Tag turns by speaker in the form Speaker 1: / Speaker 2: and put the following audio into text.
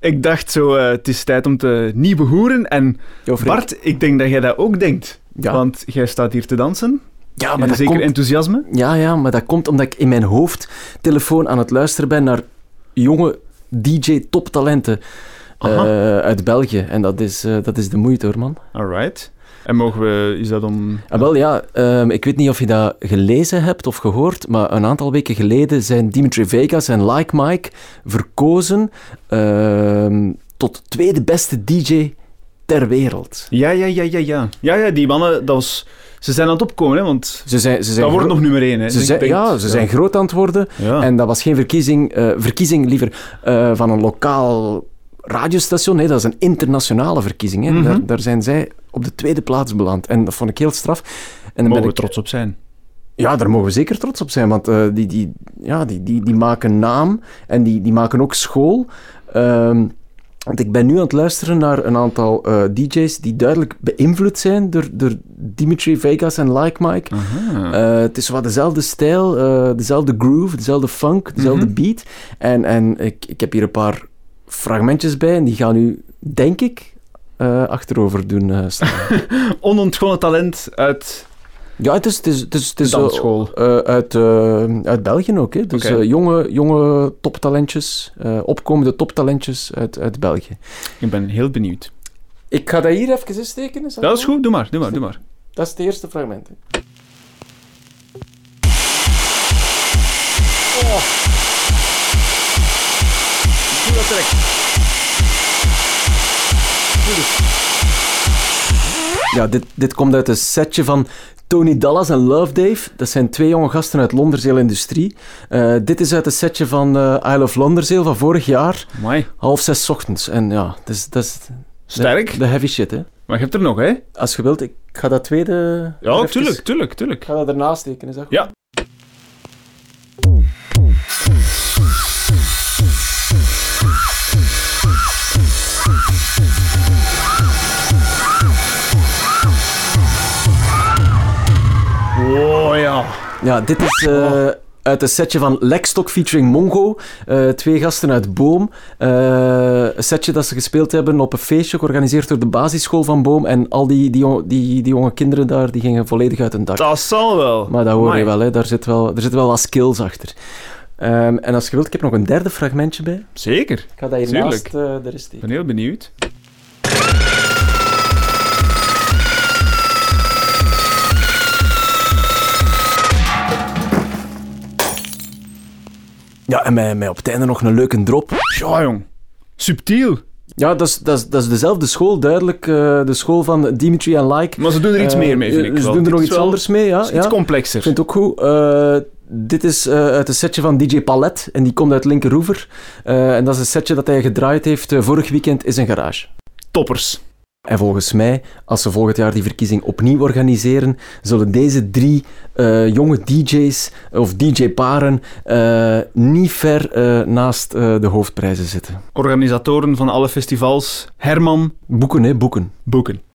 Speaker 1: Ik dacht zo, eh, het is tijd om te niet behoeren. En
Speaker 2: Jo, Freek.
Speaker 1: Bart, ik denk dat jij dat ook denkt.
Speaker 2: Ja.
Speaker 1: Want jij staat hier te dansen.
Speaker 2: ja, maar
Speaker 1: met
Speaker 2: dat
Speaker 1: zeker
Speaker 2: komt,
Speaker 1: enthousiasme.
Speaker 2: ja, ja, maar dat komt omdat ik in mijn hoofd telefoon aan het luisteren ben naar jonge DJ-toptalenten eh,
Speaker 1: Aha.
Speaker 2: uit België. En dat is, eh, dat is de moeite hoor, man.
Speaker 1: Alright. En mogen we... Is dat om...
Speaker 2: Ah, wel ja, ehm, ik weet niet of je dat gelezen hebt of gehoord, maar een aantal weken geleden zijn Dimitri Vegas en Like Mike verkozen ehm, tot tweede beste DJ ter wereld.
Speaker 1: Ja, ja, ja, ja, ja. Ja, ja, die mannen, dat was... Ze zijn aan het opkomen, hè, want...
Speaker 2: Ze zijn, ze zijn
Speaker 1: Dat wordt
Speaker 2: gro-
Speaker 1: nog nummer één, hè. Dus
Speaker 2: ze
Speaker 1: Ik
Speaker 2: zijn,
Speaker 1: denk-
Speaker 2: ja, ze zijn groot aan het worden.
Speaker 1: Ja.
Speaker 2: En dat was geen verkiezing, eh, verkiezing liever eh, van een lokaal radiostation. Nee, dat is een internationale verkiezing. Hè.
Speaker 1: Mhm.
Speaker 2: daar, daar zijn zij op de tweede plaats beland. En dat vond ik heel straf. En dan
Speaker 1: Mogen
Speaker 2: ben
Speaker 1: we
Speaker 2: ik,
Speaker 1: trots op zijn.
Speaker 2: Ja, daar mogen we zeker trots op zijn, want eh, die, die, ja, die, die, die maken naam en die, die maken ook school. Ehm, want ik ben nu aan het luisteren naar een aantal eh, DJ's die duidelijk beïnvloed zijn door, door Dimitri Vegas en Like Mike. Eh, het is wat dezelfde stijl, eh, dezelfde groove, dezelfde funk, dezelfde
Speaker 1: Mhm.
Speaker 2: beat. En, en ik, ik heb hier een paar fragmentjes bij en die gaan u, denk ik, eh, achterover doen eh, slaan.
Speaker 1: Onontgonnen talent uit...
Speaker 2: ja, het is, het is, het is, het is zo-
Speaker 1: Dansschool.
Speaker 2: eh, uit, eh, uit België ook. Hè. Dus
Speaker 1: Oké.
Speaker 2: eh, jonge, jonge toptalentjes, eh, opkomende toptalentjes uit, uit België.
Speaker 1: Ik ben heel benieuwd.
Speaker 2: Ik ga dat hier even insteken. Is dat,
Speaker 1: Dat is goed, doe maar, doe maar, doe maar.
Speaker 2: Dat is het eerste fragment. hè.
Speaker 1: Doe dat direct.
Speaker 2: Ja, dit, dit komt uit een setje van Tony Dallas en Love Dave. Dat zijn twee jonge gasten uit Londerzeel Industrie. Eh, dit is uit een setje van eh Isle of Londerzeel van vorig jaar,
Speaker 1: Amai.
Speaker 2: half zes 's ochtends. En ja, dat is, dat is de-
Speaker 1: Sterk.
Speaker 2: De, heavy shit, hè.
Speaker 1: Maar je hebt er nog, hè?
Speaker 2: Als je wilt, ik ga dat tweede... er
Speaker 1: Ja,
Speaker 2: even-
Speaker 1: tuurlijk, tuurlijk, tuurlijk.
Speaker 2: Ik ga dat ernaast steken, is dat goed?
Speaker 1: Ja. Oh ja.
Speaker 2: Ja, dit is eh, uit een setje van Lekstock featuring Mongo. Eh, twee gasten uit Boom. Eh, een setje dat ze gespeeld hebben op een feestje georganiseerd door de basisschool van Boom. En al die, die, jong- die, die jonge kinderen daar, die gingen volledig uit hun dak.
Speaker 1: Dat zal wel.
Speaker 2: Maar dat hoor
Speaker 1: Amai.
Speaker 2: je wel, hè. Daar zit wel, er zit wel wat skills achter. Ehm, en als je wilt, ik heb nog een derde fragmentje bij.
Speaker 1: Zeker.
Speaker 2: Ik ga dat hiernaast eh er is
Speaker 1: Ik ben heel benieuwd.
Speaker 2: Ja, en mij, mij op het einde nog een leuke drop.
Speaker 1: Ja, jong. Subtiel.
Speaker 2: Ja, dat is, dat is, dat is dezelfde school, duidelijk. eh, de school van Dimitri en Like.
Speaker 1: Maar ze doen er iets
Speaker 2: Eh,
Speaker 1: meer mee, vind ik.
Speaker 2: Ze
Speaker 1: wel.
Speaker 2: doen er
Speaker 1: Dit
Speaker 2: nog
Speaker 1: is
Speaker 2: iets
Speaker 1: wel
Speaker 2: anders mee, ja.
Speaker 1: Iets
Speaker 2: ja.
Speaker 1: complexer.
Speaker 2: Ik vind het ook goed. Eh, dit is eh, uit een setje van DJ Palet en die komt uit Linkeroever. Eh, en dat is een setje dat hij gedraaid heeft eh, vorig weekend in zijn garage.
Speaker 1: Toppers.
Speaker 2: En volgens mij, als ze volgend jaar die verkiezing opnieuw organiseren, zullen deze drie eh, jonge DJ's of DJ-paren eh, niet ver eh, naast eh, de hoofdprijzen zitten.
Speaker 1: Organisatoren van alle festivals. Herman
Speaker 2: Boeken, hè, boeken.
Speaker 1: Boeken.